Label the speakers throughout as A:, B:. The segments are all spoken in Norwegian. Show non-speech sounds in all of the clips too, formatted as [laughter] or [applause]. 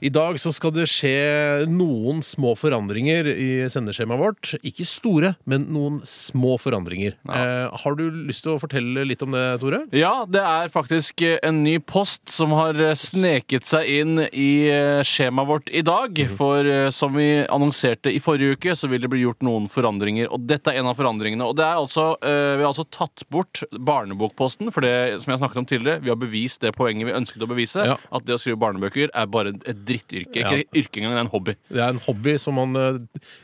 A: I dag så skal det skje noen små forandringer i sendeskjemaet vårt. Ikke store, men noen små forandringer. Eh, har du lyst til å fortelle litt om det, Tore?
B: Ja, det er faktisk eh, en ny post som har eh, sneket seg inn i eh, skjemaet vårt i dag.
A: Mhm.
B: For eh, som vi annonserte i forrige uke, så vil det bli gjort noen forandringer. Og dette er en av forandringene. Og det er altså, eh, Vi har altså tatt bort barnebokposten, for det som jeg snakket om tidligere, vi har bevist det poenget vi ønsket å bevise,
A: Ja.
B: at det å skrive barnebøker er bare et drittyrke.
A: Ja.
B: Ikke et yrke engang, det er en hobby.
A: Det er en hobby som man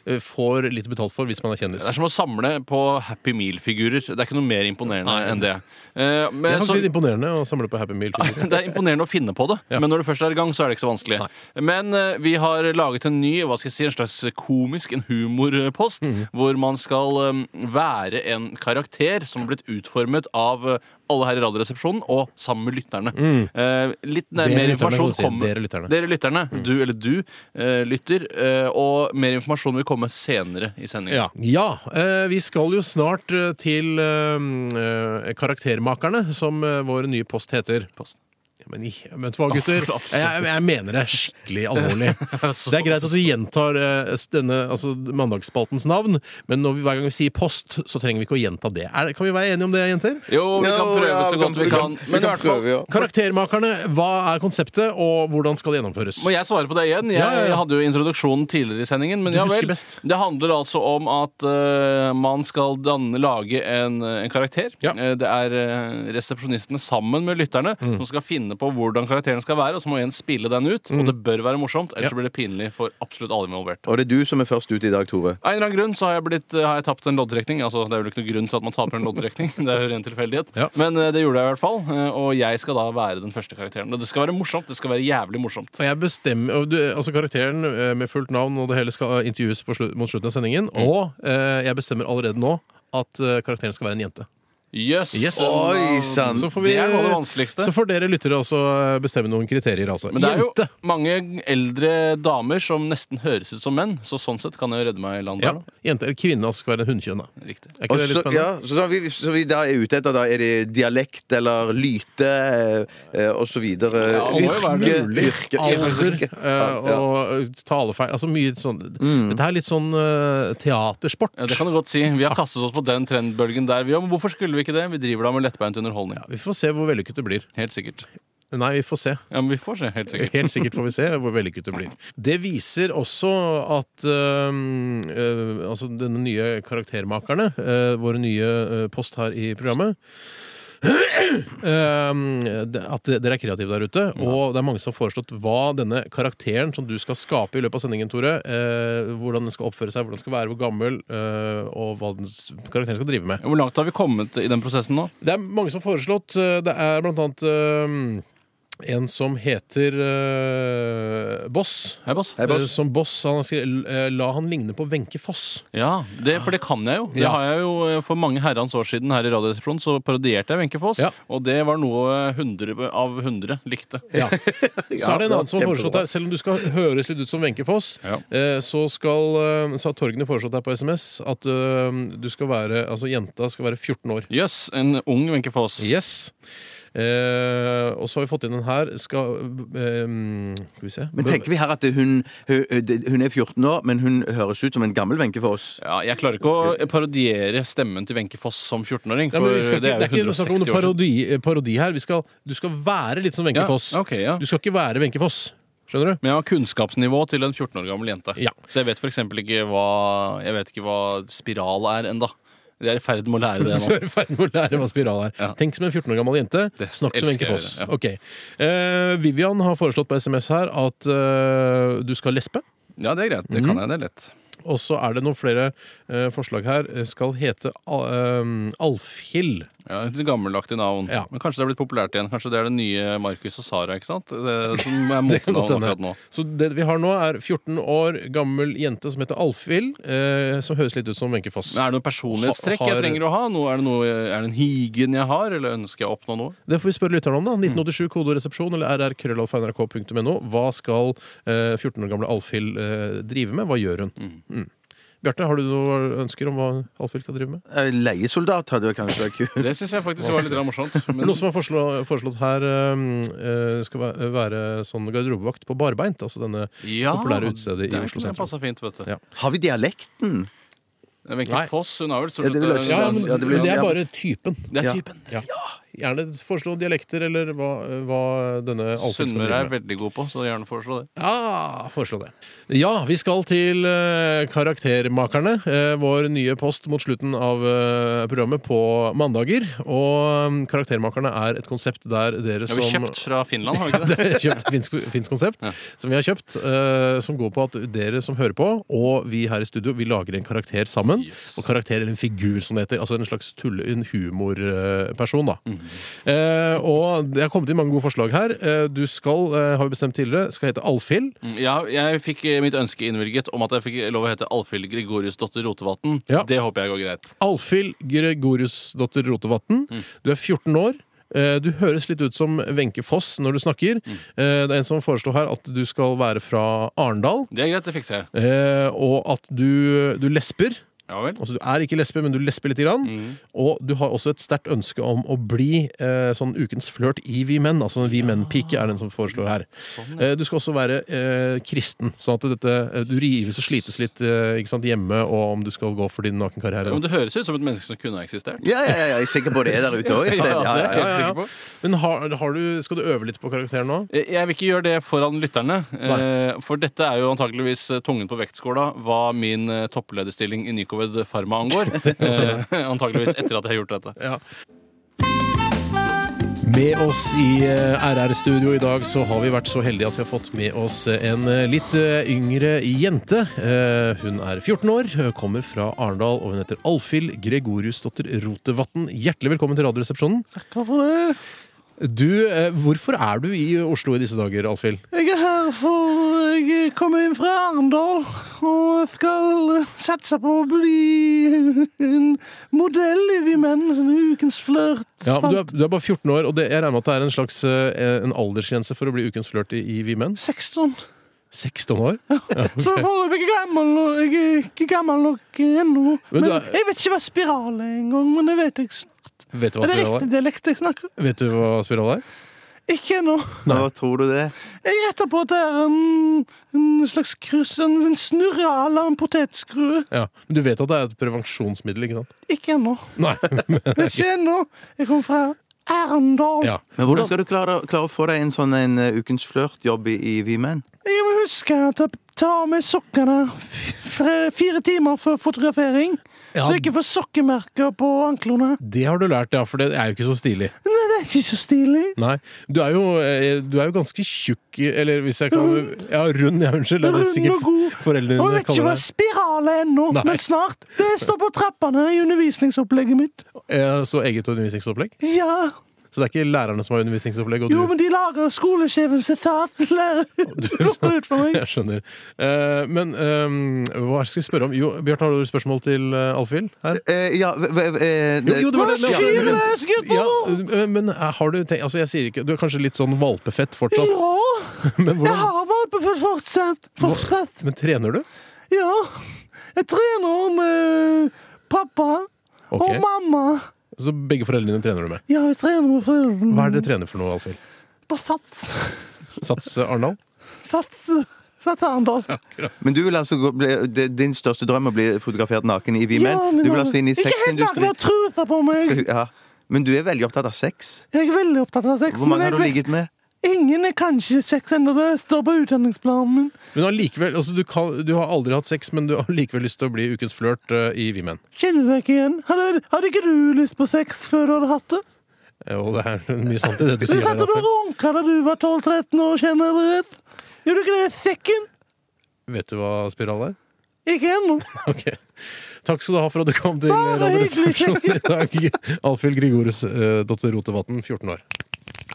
A: eh, får litt betalt for hvis man er kjendis.
B: Det er som å samle på Happy Meal-figurer. Det er ikke noe mer imponerende
A: Nei.
B: enn det. Eh, men
A: Det er
B: så-
A: faktisk litt imponerende å samle på Happy Meal. figurer.
B: [laughs] det er imponerende å finne på det, men når du først er i gang, så er det ikke så vanskelig. Men eh, vi har laget en ny, hva skal jeg si, en slags komisk, en humorpost,
A: Mhm.
B: hvor man skal eh, være en karakter som har blitt utformet av eh, alle her i Radioresepsjonen, og sammen med lytterne. Eh, litt nær,
A: Mm. Dere lytterne,
B: mer
A: kan
B: informasjon
A: du si.
B: kommer
A: Dere lytterne. Mm.
B: Dere lytterne, Du eller du eh, lytter. eh, og mer informasjon vil komme senere i sendingen.
A: Ja. ja. eh, Vi skal jo snart eh, til eh, eh, Karaktermakerne, som eh, vår nye post heter.
B: Post.
A: Ja, Men, i- men vet du hva, gutter?
B: Å,
A: Jeg, jeg- jeg mener det er skikkelig alvorlig. [laughs] Det er greit at vi gjentar eh, s- denne, altså, mandagsspaltens navn, men når vi, hver gang vi sier post, så trenger vi ikke å gjenta det. Er, kan vi være enige om det, jenter?
B: Jo, vi kan
C: Jo,
B: prøve
C: ja,
B: så godt vi kan.
C: Vi
B: Men i
C: kan
B: hvert fall
C: prøve, ja.
A: Karaktermakerne, hva er konseptet, og hvordan skal det gjennomføres?
B: Må jeg svare på det igjen? Jeg,
A: Ja, ja, ja.
B: hadde jo introduksjonen tidligere i sendingen.
A: Du
B: Men ja
A: husker
B: vel.
A: best.
B: Det handler altså om at eh, man skal danne, lage en, en karakter.
A: Ja.
B: Eh, det er eh, resepsjonistene sammen med lytterne
A: Mm.
B: som skal finne på hvordan karakteren skal være, og så må en spille den ut. Og det bør være morsomt,
A: Mm.
B: ellers
A: Ja.
B: blir det pinlig for absolutt alle involvert.
C: Og det er du som er først ute i dag, Tore.
B: Av en eller annen grunn så har jeg, blitt, eh, har jeg tapt en loddtrekning. Altså, det er vel ikke noen grunn til at man taper en loddtrekning. [laughs] Det er jo ren tilfeldighet.
A: Ja.
B: Men eh, det gjorde jeg i hvert fall. eh, Og jeg skal da være den første karakteren. Og det skal være morsomt. Det skal være jævlig morsomt.
A: Og jeg bestemmer, og du, altså Karakteren eh, med fullt navn og det hele skal eh, intervjues på slu, mot slutten av sendingen.
B: Mm.
A: Og eh, jeg bestemmer allerede nå at eh, karakteren skal være en jente.
B: Yes.
A: Yes.
C: Oi sann!
A: Så får
B: Det er noe av det vanskeligste.
A: så får dere lyttere også eh, bestemme noen kriterier. Altså.
B: Men det er jo
A: jente!
B: mange eldre damer som nesten høres ut som menn, så sånn sett kan jeg redde meg i land.
A: Ja,
B: der, da.
A: jente eller kvinne altså, skal være en hunnkjønn. da.
B: Riktig.
A: Er
C: Og
A: ikke det litt
C: så,
A: spennende?
C: ja, så, da vi, så vi da er ute etter, da er det dialekt eller lyte eh, og så videre.
B: Ja, det må jo være
C: yrke,
A: mulig.
C: yrke,
A: Alder
C: yrke.
A: eh,
C: Ja, ja.
A: og eh, talefeil. Altså mye sånn
B: Mm.
A: Dette er litt sånn eh, teatersport.
B: Ja, det kan du godt si. Vi har kastet oss på den trendbølgen der. Vi, ja, men hvorfor skulle vi ikke det? Vi driver da med lettbeint underholdning.
A: Vi får se hvor vellykket det blir.
B: Helt sikkert.
A: Nei, vi får se.
B: Ja, men vi får se. Helt sikkert.
A: Helt sikkert får vi se hvor vellykket det blir. Det viser også at øhm, øh, altså denne nye karaktermakerne, øh, våre nye øh, post her i programmet [clears throat] øhm, det- at de- dere er kreative der ute, og det er mange som har foreslått hva denne karakteren som du skal skape i løpet av sendingen, Tore, øh, hvordan den skal oppføre seg, hvordan den skal være, hvor gammel, øh, og hva den s- karakteren skal drive med.
B: Hvor langt har vi kommet i den prosessen nå?
A: Det er mange som har foreslått. eh, Det er blant annet øhm, en som heter øh, Boss.
B: Hei, boss.
C: Hei,
A: Eh,
C: boss.
A: Som boss han har skrevet, eh, La han ligne på Wenche Foss.
B: Ja, det, for det kan jeg jo. Det
A: Ja.
B: har jeg jo eh, For mange herrens år siden her i Radioresepsjonen så parodierte jeg Wenche Foss,
A: Ja.
B: og det var noe 100 av 100 likte.
A: Så er det en
C: Ja,
A: annen som har
C: kjempebra.
A: foreslått deg, selv om du skal høres litt ut som Wenche Foss,
B: Ja.
A: eh, så, skal, eh, så har Torgny foreslått deg på SMS at eh, du skal være, altså jenta skal være 14 år.
B: Jøss, yes, en ung Wenche Foss.
A: Yes. Eh, og så har vi fått inn en her. Skal, eh, skal vi se
C: Men tenker vi her at hun, hun, hun er 14 år, men hun høres ut som en gammel Wenche for oss?
B: Ja, jeg klarer ikke å parodiere stemmen til Wenche Foss som 14-åring.
A: Ja,
B: For
A: men vi skal ikke,
B: det er
A: det er ikke
B: jo
A: noe snakk om
B: 160
A: noe
B: år siden.
A: parodi, eh, parodi her. Vi skal, du skal være litt som Wenche
B: Ja,
A: Foss.
B: ok, ja.
A: Du skal ikke være Wenche Foss. Skjønner du?
B: Men jeg har kunnskapsnivå til en 14 år gammel jente.
A: Ja.
B: Så jeg vet f.eks. ikke hva Jeg vet ikke hva spiral er enda Jeg er i ferd med å lære det
A: Du [laughs]
B: nå.
A: er i ferd med å lære hva spiral er.
B: Ja.
A: Tenk som en 14 år gammel jente.
B: Det
A: Snakk som
B: elsker
A: Wenche
B: jeg å
A: Foss.
B: gjøre, ja.
A: Ok. Eh, Vivian har foreslått på SMS her at eh, du skal lespe.
B: Ja, det er greit. Det kan jeg. Det er lett.
A: Og så er det noen flere eh, forslag her. Eh, Skal hete Al- eh, Alfhild.
B: Ja, et Gammelaktig navn.
A: Ja.
B: Men kanskje det er blitt populært igjen. Kanskje det er det nye Markus og Sara, ikke sant? Det,
A: [laughs]
B: som er motenavn akkurat nå.
A: Så det vi har nå, er 14 år gammel jente som heter Alfhild, eh, som høres litt ut som Wenche Foss.
B: Men er det noe personlighetstrekk
A: Har-
B: jeg trenger å ha? Noe, er, det noe, er det en higen jeg har, eller ønsker jeg å oppnå noe?
A: Det får vi spørre lytterne om,
B: Mm.
A: da. 1987 kodoresepsjon eller rrkrøllalfa.nrk.no. Hva skal eh, 14 år gamle Alfhild eh, drive med? Hva gjør hun? Mm. Bjarte, har du noen ønsker om hva Alfhild kan drive med?
C: Eh, Leiesoldat hadde jo kanskje vært kult.
B: Det syns jeg faktisk var litt morsomt.
A: [laughs]
B: Men
A: Noe som er foreslå- foreslått her, øhm, øh, skal væ- være sånn garderobevakt på barbeint. Altså denne
B: ja,
A: populære utestedet i
B: der
A: Oslo
B: kunne jeg
A: sentrum.
B: passet fint, vet du.
A: Ja.
C: Har vi dialekten?
B: Wenche
A: Nei.
B: Foss, hun har vel stort
C: Ja, det vil
B: sett- eh,
C: jeg også si. Ja, det blir-
A: det er
C: ja.
A: bare typen.
B: Det er
C: Ja.
B: typen.
A: Ja. Gjerne foreslå dialekter, eller hva, eh, hva denne Alfhild skal
B: Sunnmøre
A: drive
B: er
A: med.
B: veldig god på, så gjerne foreslå det.
A: Ja, foreslå det. Ja, vi skal til eh, Karaktermakerne. eh, vår nye post mot slutten av eh, programmet på mandager. Og mm, Karaktermakerne er et konsept der dere
B: Ja,
A: som
B: vi kjøpt
A: [laughs]
B: fra Finland, har vi ikke det?
A: kjøpt finsk, finsk konsept som vi har kjøpt, eh, som går på at dere som hører på, og vi her i studio, vi lager en karakter sammen.
B: Yes.
A: Og karakter eller en figur, som det heter. Altså en slags tulle, en humorperson, da.
B: Mhm.
A: Eh, og det har kommet inn mange gode forslag her. Eh, du skal, eh, har vi bestemt tidligere, skal hete Alfhild.
B: Mm, Ja, jeg fikk eh, mitt ønske innvilget om at jeg fikk lov å hete Alfhild Gregoriusdotter Rotevatn.
A: Ja.
B: Det håper jeg går greit.
A: Alfhild Gregoriusdotter Rotevatn. Du er 14 år. Eh, Du høres litt ut som Wenche Foss når du snakker. Eh, Det er en som foreslår her at du skal være fra Arendal,
B: Det er greit, det fikser jeg.
A: eh, og at du, du lesber.
B: Ja vel.
A: Altså, du er ikke lesbe, men du lesber lite grann. Og du har også et sterkt ønske om å bli eh, sånn ukens flørt i Vi menn. Altså en Vi menn-pike er den som foreslår her. eh, du skal også være eh, kristen, sånn at dette, eh, du rives og slites litt eh, ikke sant, hjemme og om du skal gå for din nakenkarriere.
B: Ja, men det høres ut som et menneske som kunne ha eksistert.
C: Ja, ja, ja, jeg er sikker på det der ute òg.
B: Ja, ja, det er
A: Ja,
B: jeg
A: ja,
B: helt
A: ja.
B: sikker på.
A: Men har, har du, skal du øve litt på karakteren nå?
B: Eh, Jeg vil ikke gjøre det foran lytterne,
A: Nei.
B: eh, for dette er jo antakeligvis eh, tungen på vektskåla hva min eh, topplederstilling i Nycoved Pharma [laughs] angår. Eh, Antakeligvis etter at jeg har gjort dette.
A: Ja. Med oss i eh, RR-studio i dag så har vi vært så heldige at vi har fått med oss en eh, litt eh, yngre jente. Eh, Hun er 14 år, eh, kommer fra Arendal, og hun heter Alfhild Gregoriusdotter Rotevatn. Hjertelig velkommen til Radioresepsjonen.
B: Takk for det.
A: Du, eh, hvorfor er du i Oslo i disse dager, Alfhild?
B: Jeg er her for eh, Jeg kommer inn fra Arendal og skal satse på å bli en modell i Vi menn. En ukens flørt.
A: Ja, men du, er, du er bare 14 år, og det, jeg regner med at det er en slags eh, en aldersgrense for å bli ukens flørt i, i Vi menn?
B: 16.
A: 16 år?
B: Så får jeg ikke gammel, og jeg er ikke gammel nok ennå.
A: Men
B: Men
A: du er-
B: jeg vet ikke hva spiral er engang, men det vet jeg snart.
A: Vet du hva
B: Er det
A: spiral
B: riktig
A: er?
B: dialekt jeg snakker?
A: Vet du hva spiral er?
B: Ikke ennå.
C: Hva tror du det?
B: Jeg gjetter på at det er en, en slags kryss, en, en snurre eller en potetskrue.
A: Ja, Men du vet at det er et prevensjonsmiddel, ikke sant?
B: Ikke
A: [laughs]
B: ennå.
A: Nei, men
B: Ikke ennå. Jeg kommer fra Arendal.
A: ja.
C: Men Hvordan skal du klare, klare å få deg en sånn en eh, ukens flørtjobb i, i Vi menn?
B: Jeg må huske å ta, ta med sokkene f- f- fire timer før fotografering.
A: Ja.
B: Så jeg ikke får sokkemerker på anklene.
A: Det har du lært, ja, for det er jo ikke så stilig.
B: Nei, det er ikke så stilig.
A: Nei, Du er jo, eh, du er jo ganske tjukk, eller hvis jeg kan Ja, rund, ja, unnskyld. Det er
B: Rund og
A: sikkert
B: god.
A: foreldrene
B: Og jeg
A: dine
B: vet ikke
A: kaller
B: hva
A: deg.
B: spiral er ennå,
A: Nei.
B: men snart. Det står på trappene i undervisningsopplegget mitt.
A: Eh, Så eget undervisningsopplegg?
B: Ja.
A: Så det er ikke lærerne som har undervisningsopplegg, og
B: Jo,
A: du
B: men de lager skolesjefen
C: [laughs]
B: sitat. Lærer [laughs] roper ut for meg.
A: [laughs] Jeg skjønner. Eh, Men eh, hva skal vi spørre om? Jo, Bjarte, har du spørsmål til eh, Alfhild her?
C: Eh, ja, v- v- eh, det-
A: jo, det var det- det
C: Ja,
A: var det-
C: men-
B: Fyrløs
A: Ja,
B: gutter!
A: eh, men eh, har du tenkt Altså, jeg sier ikke Du er kanskje litt sånn valpefett
B: Ja,
A: fortsatt,
C: [laughs]
A: men
B: jeg
A: hvordan
B: har valpefødt fortsatt. Fortsatt.
A: Men trener du?
B: Ja. Jeg trener med pappa og
A: Ok.
B: mamma.
A: Så begge foreldrene dine trener du med.
B: Ja, jeg trener med foreldrene
A: Hva er det dere trener for noe, Alfhild?
B: på Sats.
A: Sats eh, Arendal?
B: Sats. Sats Arendal.
C: Men du vil altså gå, bli, det- din største drøm er å bli fotografert naken i Vi
B: Ja,
C: menn? Du vil altså inn i
B: Ikke helt naken,
C: sexindustrien?
B: jeg har trusa på meg.
C: Ja. Men du er veldig opptatt av sex.
B: Jeg er veldig opptatt av sex.
C: Hvor mange
B: men jeg
C: har du
B: vet-
C: ligget med?
B: Ingen er kanskje sex ennå. Det står på utdanningsplanen min.
A: Men allikevel, altså, du, kan, du har aldri hatt sex, men du har likevel lyst til å bli ukens flørt eh, i Vi menn.
B: Kjenner deg ikke igjen. Hadde, hadde ikke du lyst på sex før du hadde hatt det?
A: Eh, Og det er mye sant i det du
B: Du
A: sier.
B: [laughs] satt
A: Der,
B: og
A: Rafael.
B: runka da du var 12-13 år, kjenner jeg det rett? Gjorde du ikke det i sekken?
A: Vet du hva spiral er? [laughs]
B: Ikke ennå.
A: Ok. Takk skal du ha for at du kom til
B: Bare hyggelig, [laughs]
A: Radioresepsjonen i dag. Alfhild Grigorus, eh, dotter Rotevatn, 14 år.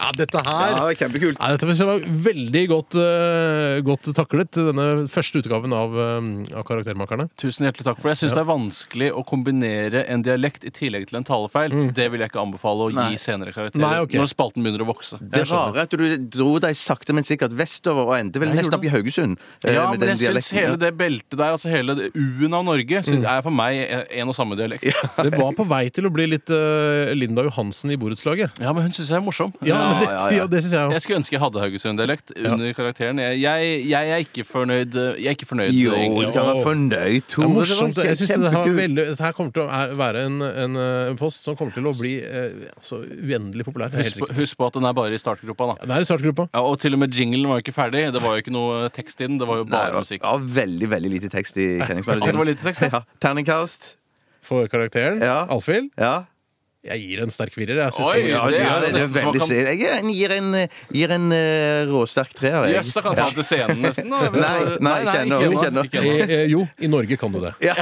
A: Ja, dette her
C: Ja, kjempekult.
A: Nei, dette synes jeg var veldig godt, eh, godt taklet, denne første utgaven av, eh, av Karaktermakerne.
B: Tusen hjertelig takk for det. Jeg syns det er vanskelig å kombinere en dialekt i tillegg til en talefeil. Det vil jeg ikke anbefale å gi
C: Nei.
B: senere karakterer.
A: Nei, ok.
B: Når spalten begynner å vokse.
C: Det rare er at du dro deg sakte, men sikkert vestover og endte vel
B: Jeg
C: nesten
B: gjorde
C: opp i Haugesund. eh,
B: Ja,
C: med
B: men
C: den
B: jeg syns
C: dialekten.
B: hele det beltet der, altså hele det U-en av Norge, så er for meg en og samme dialekt.
A: Det var på vei til å bli litt eh, Linda Johansen i borettslaget.
B: Ja, men hun syns jeg er morsom.
A: Ja, men det,
C: ja, ja.
A: ja, det syns jeg jo.
B: Jeg skulle ønske jeg hadde Haugesund-dialekt under karakteren. Jeg, jeg, jeg er ikke fornøyd. Jeg er ikke fornøyd
C: Jo,
B: egentlig.
C: du kan være fornøyd,
A: Det
C: Tore.
A: er morsomt.
C: var
A: Jeg synes det her,
C: kjempekult.
A: var veldig, dette her kommer til å er- være en, en, eh, post som kommer til å bli eh, altså, uendelig populær. Det er jeg
B: Husk
A: helt
B: på,
A: sikker.
B: husk på at den er bare i startgropa, da.
A: Ja, Det er i startgruppa.
B: Ja, og til og med jinglen var jo ikke ferdig. Det var jo ikke noe tekst i den. Det var jo
C: Nei,
B: bare
C: det var-
B: musikk.
C: Ja, veldig, veldig lite tekst i kjenningsmelodien.
B: Ja, det var lite tekst, ja.
C: [laughs] ja. Terningkast.
A: for karakteren.
C: Ja.
A: Alfhild.
C: Ja.
A: Jeg gir en sterk firer. Jeg synes
B: Oi,
A: det
B: ja,
A: var-
C: det,
B: er
C: er, det, det er
B: nesten som man
C: veldig
B: kan-
C: stil. Jeg er en- gir en, gir en eh, råsterk treer. jeg.
B: Jøss, da kan jeg ta den til scenen nesten. Da.
C: Nei, nei, ikke ennå, ikke ennå.
A: Eh, eh, jo, i Norge kan du det. [laughs]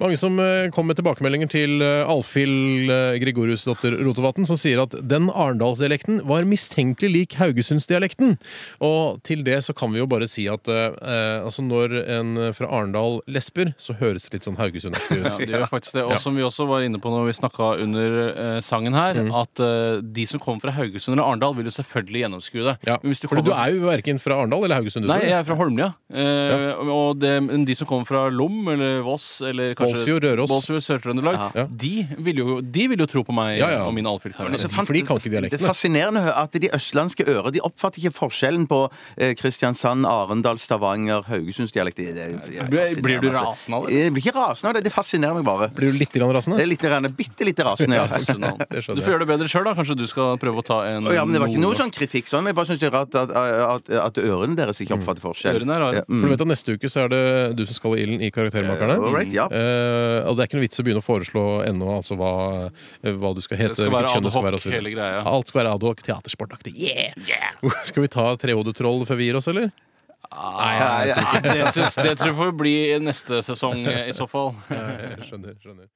A: Mange som eh, kom med tilbakemeldinger til eh, Alfhild eh, Gregoriusdotter Rotevatn, som sier at den arendalsdialekten var mistenkelig lik haugesundsdialekten. Og til det så kan vi jo bare si at eh, eh, altså når en fra Arendal lesber, så høres det litt sånn haugesundaktig
B: Ja,
A: ut.
B: det gjør faktisk det. Og som vi også var inne på når vi snakka under eh, sangen her, at eh, de som kommer fra Haugesund eller Arendal, vil jo selvfølgelig gjennomskue det.
A: Ja.
B: Men hvis du
A: For du
B: kommer-
A: er jo verken fra Arendal eller Haugesund. du,
B: Nei,
A: tror jeg.
B: jeg er fra Holmlia. Eh, Og det, men de som kommer fra Lom eller Voss eller kanskje
A: Bålsfjord, Røros.
B: Bålsfjord, Sør-Trøndelag,
A: Ja.
B: de, vil jo- de vil jo tro på meg
A: Ja, ja.
B: og min Alfhild-karakter.
A: Men
C: så
A: de-
C: fant-
A: for de kan ikke dialektene.
C: Det er fascinerende å høre at de østlandske ører de oppfatter ikke forskjellen på eh, Kristiansand, Arendal, Stavanger, Haugesundsdialekt. Det, det, det er
B: Blir- blir du
C: fascinerende, altså.
B: rasende av det?
C: Jeg blir ikke rasende av det. Det fascinerer meg bare.
A: Blir du litt grann
C: Det
A: rasende?
C: er litt rene, bitte lite rasende, ja.
B: Arsenal.
A: [laughs] Det skjønner
B: Du får gjøre det bedre sjøl, da. Kanskje du skal prøve å ta en
C: Å, ja, men Det var ikke noe
B: nord-
C: sånn kritikk sånn. Men jeg bare synes det er rart at, at, at ørene deres ikke oppfatter forskjell.
B: Ørene er rare.
C: Ja, mm.
A: For du vet at Neste uke så er det du som skal i ilden i Karaktermakerne.
C: All right, ja.
A: Eh, og Det er ikke noe vits å begynne å foreslå ennå altså hva, eh, hva du skal hete.
B: Det skal
A: hvilket
B: være
A: kjønn du skal
B: ad hoc,
A: og så videre.
B: hele greia.
A: Alt skal være ad hoc. Teatersportaktig. Yeah! Skal vi ta Trehodet troll før vi gir oss, eller?
C: Ja, ja.
B: Nei, det, syns, det tror jeg får bli neste sesong [laughs] eh, i så fall.
A: Jeg skjønner, skjønner.